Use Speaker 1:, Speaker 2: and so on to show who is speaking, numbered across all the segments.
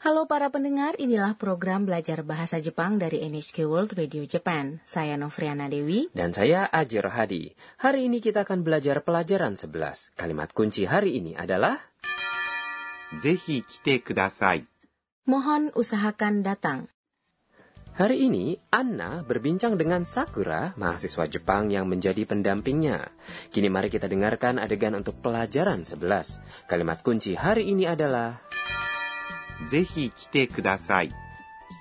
Speaker 1: Halo para pendengar, inilah program belajar bahasa Jepang dari NHK World Radio Japan. Saya Novriana Dewi.
Speaker 2: Dan saya Ajir Hadi. Hari ini kita akan belajar pelajaran 11. Kalimat kunci hari ini adalah
Speaker 3: ぜひ来てください。
Speaker 1: Mohon usahakan datang.
Speaker 2: Hari ini, Anna berbincang dengan Sakura, mahasiswa Jepang yang menjadi pendampingnya. Kini mari kita dengarkan adegan untuk pelajaran 11. Kalimat kunci hari ini adalah
Speaker 3: ぜひ来てください。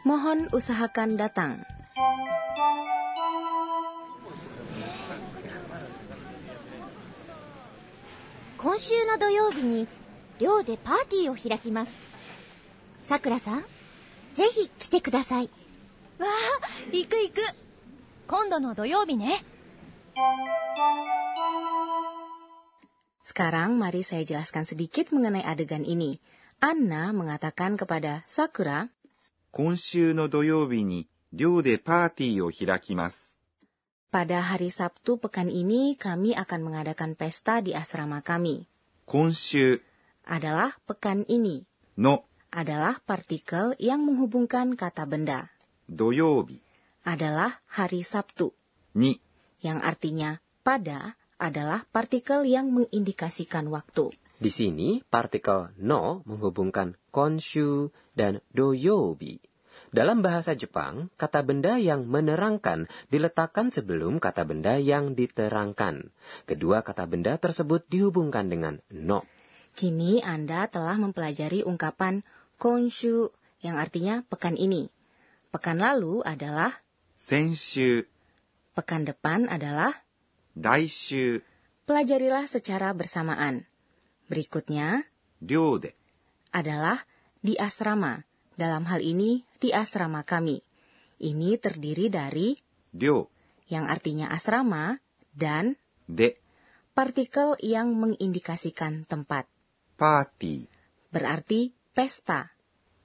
Speaker 1: Mohon usahakan datang.
Speaker 4: 「今週の土曜日に寮でパーティーを開きます」「さくらさんぜひ来てください」わあ行く行く今度の土曜日ね
Speaker 1: Sekarang mari saya jelaskan sedikit mengenai adegan ini. Anna mengatakan kepada Sakura,
Speaker 3: 今週の土曜日に寮でパーティーを開きます。
Speaker 1: pada hari Sabtu pekan ini kami akan mengadakan pesta di asrama kami.
Speaker 3: 今週
Speaker 1: Adalah pekan ini.
Speaker 3: の
Speaker 1: Adalah partikel yang menghubungkan kata benda.
Speaker 3: 土曜日
Speaker 1: Adalah hari Sabtu.
Speaker 3: に
Speaker 1: yang artinya pada adalah partikel yang mengindikasikan waktu.
Speaker 2: Di sini, partikel no menghubungkan konshu dan doyobi. Dalam bahasa Jepang, kata benda yang menerangkan diletakkan sebelum kata benda yang diterangkan. Kedua kata benda tersebut dihubungkan dengan no.
Speaker 1: Kini Anda telah mempelajari ungkapan konshu yang artinya pekan ini. Pekan lalu adalah,
Speaker 3: 先週、
Speaker 1: pekan depan adalah,
Speaker 3: 来週、
Speaker 1: pelajarilah secara bersamaan. Berikutnya
Speaker 3: 寮で
Speaker 1: adalah di asrama. Dalam hal ini di asrama kami. Ini terdiri dari
Speaker 3: 寮
Speaker 1: yang artinya asrama dan
Speaker 3: で
Speaker 1: partikel yang mengindikasikan tempat.
Speaker 3: パーティ
Speaker 1: berarti pesta,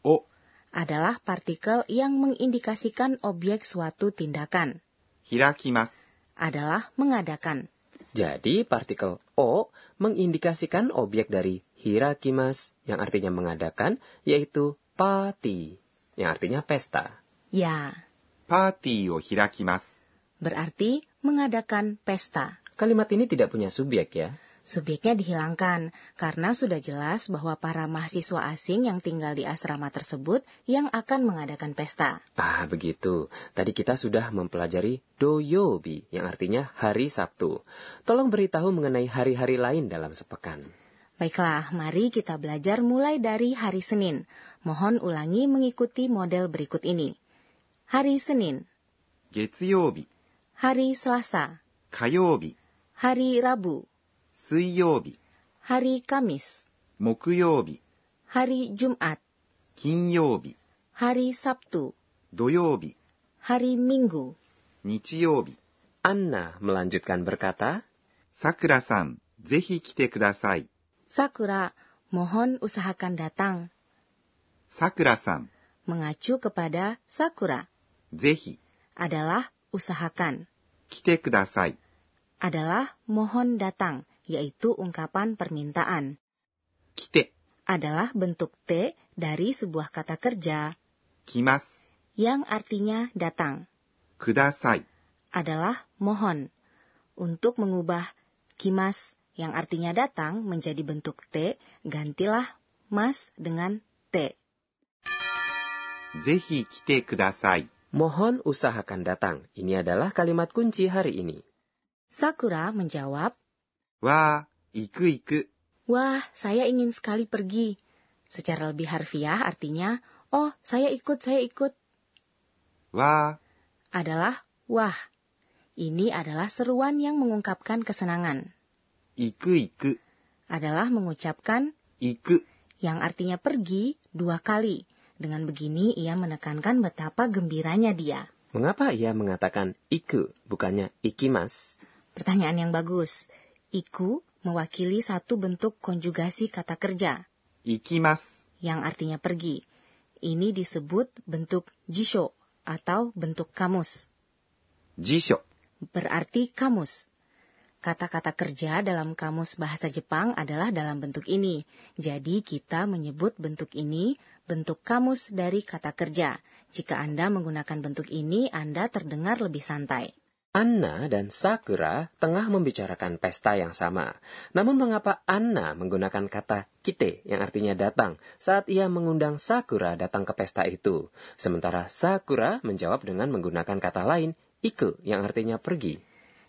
Speaker 3: ーを
Speaker 1: adalah partikel yang mengindikasikan objek suatu tindakan,
Speaker 3: 開きます。
Speaker 1: adalah mengadakan.
Speaker 2: Jadi, partikel o mengindikasikan objek dari hirakimas yang artinya mengadakan, yaitu pati yang artinya pesta.
Speaker 1: Ya,
Speaker 3: パーティーを開きます。
Speaker 1: berarti mengadakan pesta.
Speaker 2: Kalimat ini tidak punya subjek ya.
Speaker 1: Subjeknya dihilangkan karena sudah jelas bahwa para mahasiswa asing yang tinggal di asrama tersebut yang akan mengadakan pesta.
Speaker 2: Ah, begitu. Tadi kita sudah mempelajari doyobi, yang artinya hari Sabtu. Tolong beritahu mengenai hari-hari lain dalam sepekan.
Speaker 1: Baiklah, mari kita belajar mulai dari hari Senin. Mohon ulangi mengikuti model berikut ini. Hari Senin,
Speaker 3: 月曜日、
Speaker 1: hari Selasa,
Speaker 3: 火曜日、
Speaker 1: hari Rabu,
Speaker 3: 水曜日、
Speaker 1: hari Kamis,
Speaker 3: 木曜日、
Speaker 1: hari Jumat,
Speaker 3: 金曜日、
Speaker 1: hari Sabtu,
Speaker 3: 土曜日、
Speaker 1: hari Minggu.
Speaker 3: 日曜日。
Speaker 2: Anna melanjutkan berkata,
Speaker 3: さくらさん、ぜひ来てください。
Speaker 1: Sakura, mohon usahakan datang,
Speaker 3: さくらさん、
Speaker 1: mengacu kepada Sakura,
Speaker 3: ぜひ
Speaker 1: adalah usahakan,
Speaker 3: 来てください。
Speaker 1: adalah mohon datang, yaitu ungkapan permintaan,
Speaker 3: 来て、
Speaker 1: adalah bentuk T dari sebuah kata kerja
Speaker 3: 来ます。
Speaker 1: yang artinya datang,
Speaker 3: ください。
Speaker 1: adalah mohon. Untuk mengubah kimas yang artinya datang menjadi bentuk T, gantilah mas dengan T.
Speaker 3: ぜひ来てください。
Speaker 2: mohon usahakan datang. Ini adalah kalimat kunci hari ini.
Speaker 1: Sakura menjawab,
Speaker 3: わー、行く行く。
Speaker 1: Wah, saya ingin sekali pergi. Secara lebih harfiah artinya, oh, saya ikut, saya ikut,
Speaker 3: わ
Speaker 1: adalah wah. Ini adalah seruan yang mengungkapkan kesenangan.
Speaker 3: ー、行く行く。
Speaker 1: Adalah mengucapkan
Speaker 3: 行く。
Speaker 1: yang artinya pergi dua kali. Dengan begini, ia menekankan betapa gembiranya dia.
Speaker 2: Mengapa ia mengatakan iku, bukannya ikimas?
Speaker 1: Pertanyaan yang bagus. Iku mewakili satu bentuk konjugasi kata kerja,
Speaker 3: 行きます。
Speaker 1: yang artinya pergi. Ini disebut bentuk jisho atau bentuk kamus,
Speaker 3: 辞書。
Speaker 1: berarti kamus. Kata-kata kerja dalam kamus bahasa Jepang adalah dalam bentuk ini. Jadi kita menyebut bentuk ini bentuk kamus dari kata kerja. Jika Anda menggunakan bentuk ini, Anda terdengar lebih santai.
Speaker 2: Anna dan Sakura tengah membicarakan pesta yang sama. Namun mengapa Anna menggunakan kata kite yang artinya datang saat ia mengundang Sakura datang ke pesta itu? Sementara Sakura menjawab dengan menggunakan kata lain, iku yang artinya pergi.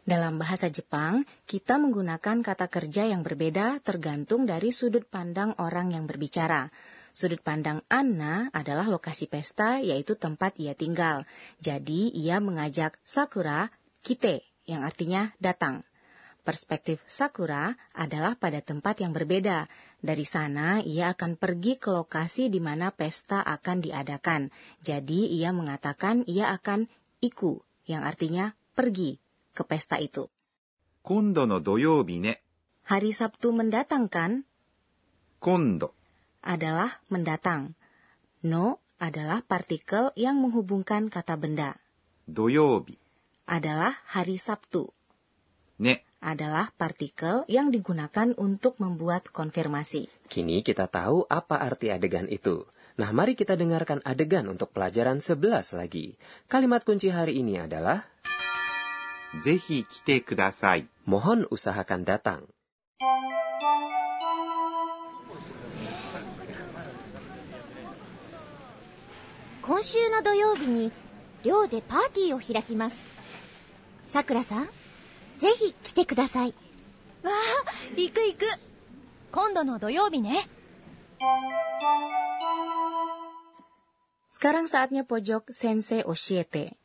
Speaker 1: Dalam bahasa Jepang, kita menggunakan kata kerja yang berbeda tergantung dari sudut pandang orang yang berbicara. Sudut pandang Anna adalah lokasi pesta, yaitu tempat ia tinggal. Jadi, ia mengajak Sakura kite, yang artinya datang. Perspektif Sakura adalah pada tempat yang berbeda. Dari sana, ia akan pergi ke lokasi di mana pesta akan diadakan. Jadi, ia mengatakan ia akan iku, yang artinya pergi, ke pesta itu.
Speaker 3: 今度の土曜日ね。
Speaker 1: Hari Sabtu mendatangkan
Speaker 3: 今度
Speaker 1: adalah mendatang. No adalah partikel yang menghubungkan kata benda.
Speaker 3: 土曜日
Speaker 1: Adalah hari Sabtu
Speaker 3: ね。
Speaker 1: adalah partikel yang digunakan untuk membuat konfirmasi.
Speaker 2: Kini kita tahu apa arti adegan itu. Nah, mari kita dengarkan adegan untuk pelajaran 11 lagi. Kalimat kunci hari ini adalah
Speaker 3: ぜひ来てください。
Speaker 2: mohon usahakan datang.
Speaker 4: 「今週の土曜日に寮でパーティーを開きます」「さくらさんぜひ来てください」わあ行く行く今度の土曜日ね
Speaker 1: Sekarang saatnya pojok Sensei Oshiete.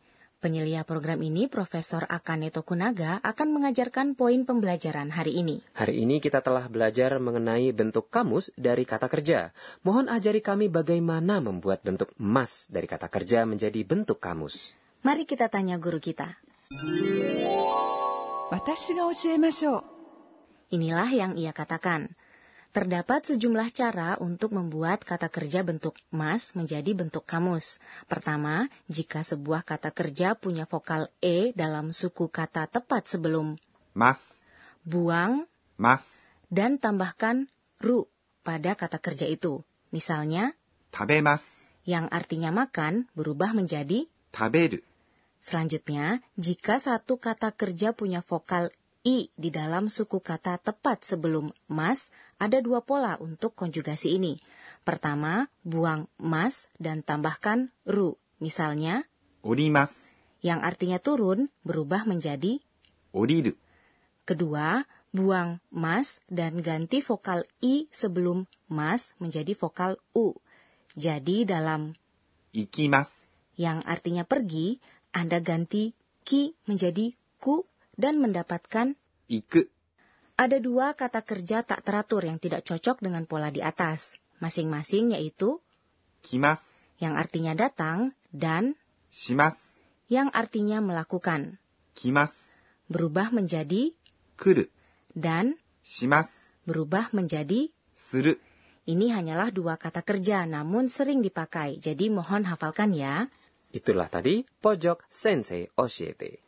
Speaker 1: Penyelia program ini, Profesor Akane Tokunaga, akan mengajarkan poin pembelajaran hari ini.
Speaker 2: Hari ini kita telah belajar mengenai bentuk kamus dari kata kerja. Mohon ajari kami bagaimana membuat bentuk mas dari kata kerja menjadi bentuk kamus.
Speaker 1: Mari kita tanya guru kita.
Speaker 5: 私が教えましょう
Speaker 1: Inilah yang ia katakan. Terdapat sejumlah cara untuk membuat kata kerja bentuk mas menjadi bentuk kamus. Pertama, jika sebuah kata kerja punya vokal e dalam suku kata tepat sebelum
Speaker 3: ます。
Speaker 1: buang
Speaker 3: ます。
Speaker 1: dan tambahkan ru pada kata kerja itu. Misalnya,
Speaker 3: 食べます。
Speaker 1: yang artinya makan berubah menjadi
Speaker 3: 食べる。
Speaker 1: Selanjutnya, jika satu kata kerja punya vokal i di dalam suku kata tepat sebelum mas, ada dua pola untuk konjugasi ini. Pertama, buang mas dan tambahkan ru. Misalnya,
Speaker 3: 降ります。
Speaker 1: yang artinya turun berubah menjadi.
Speaker 3: 降りる。
Speaker 1: Kedua, buang mas dan ganti vokal i sebelum mas menjadi vokal u. Jadi dalam
Speaker 3: 行きます。
Speaker 1: yang artinya pergi, Anda ganti ki menjadi ku dan mendapatkan
Speaker 3: 行く。
Speaker 1: ada dua kata kerja tak teratur yang tidak cocok dengan pola di atas. Masing-masing yaitu
Speaker 3: 来ます。
Speaker 1: yang artinya datang dan
Speaker 3: します。
Speaker 1: yang artinya melakukan.
Speaker 3: 来ます。
Speaker 1: Berubah menjadi
Speaker 3: 来る。
Speaker 1: dan
Speaker 3: します。
Speaker 1: berubah menjadi
Speaker 3: する。
Speaker 1: ini hanyalah dua kata kerja namun sering dipakai. Jadi mohon hafalkan ya.
Speaker 2: Itulah tadi pojok Sensei Oshiete.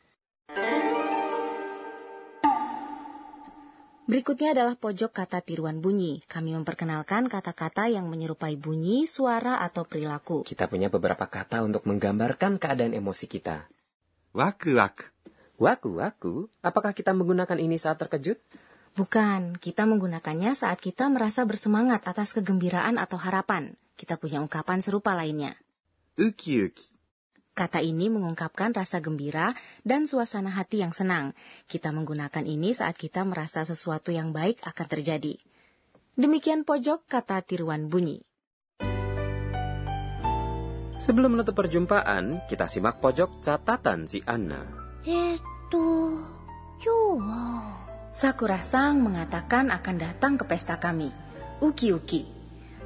Speaker 1: Berikutnya adalah pojok kata tiruan bunyi. Kami memperkenalkan kata-kata yang menyerupai bunyi, suara, atau perilaku.
Speaker 2: Kita punya beberapa kata untuk menggambarkan keadaan emosi kita.
Speaker 3: ワクワク。
Speaker 2: Waku-waku, apakah kita menggunakan ini saat terkejut?
Speaker 1: Bukan, kita menggunakannya saat kita merasa bersemangat atas kegembiraan atau harapan. Kita punya ungkapan serupa lainnya.
Speaker 3: ウキウキ。
Speaker 1: Kata ini mengungkapkan rasa gembira dan suasana hati yang senang. Kita menggunakan ini saat kita merasa sesuatu yang baik akan terjadi. Demikian pojok kata tiruan bunyi.
Speaker 2: Sebelum menutup perjumpaan, kita simak pojok catatan si Anna.
Speaker 4: えー、っと今日は
Speaker 1: Sakura-sang mengatakan akan datang ke pesta kami. Uki-uki.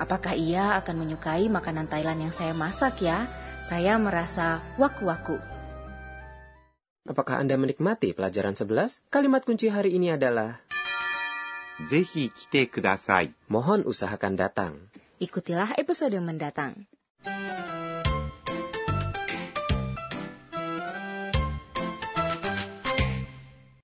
Speaker 1: Apakah ia akan menyukai makanan Thailand yang saya masak ya? Saya merasa waku-waku.
Speaker 2: Apakah Anda menikmati pelajaran 11? Kalimat kunci hari ini adalah
Speaker 3: ぜひ来てください。
Speaker 2: mohon usahakan datang.
Speaker 1: Ikutilah episode mendatang.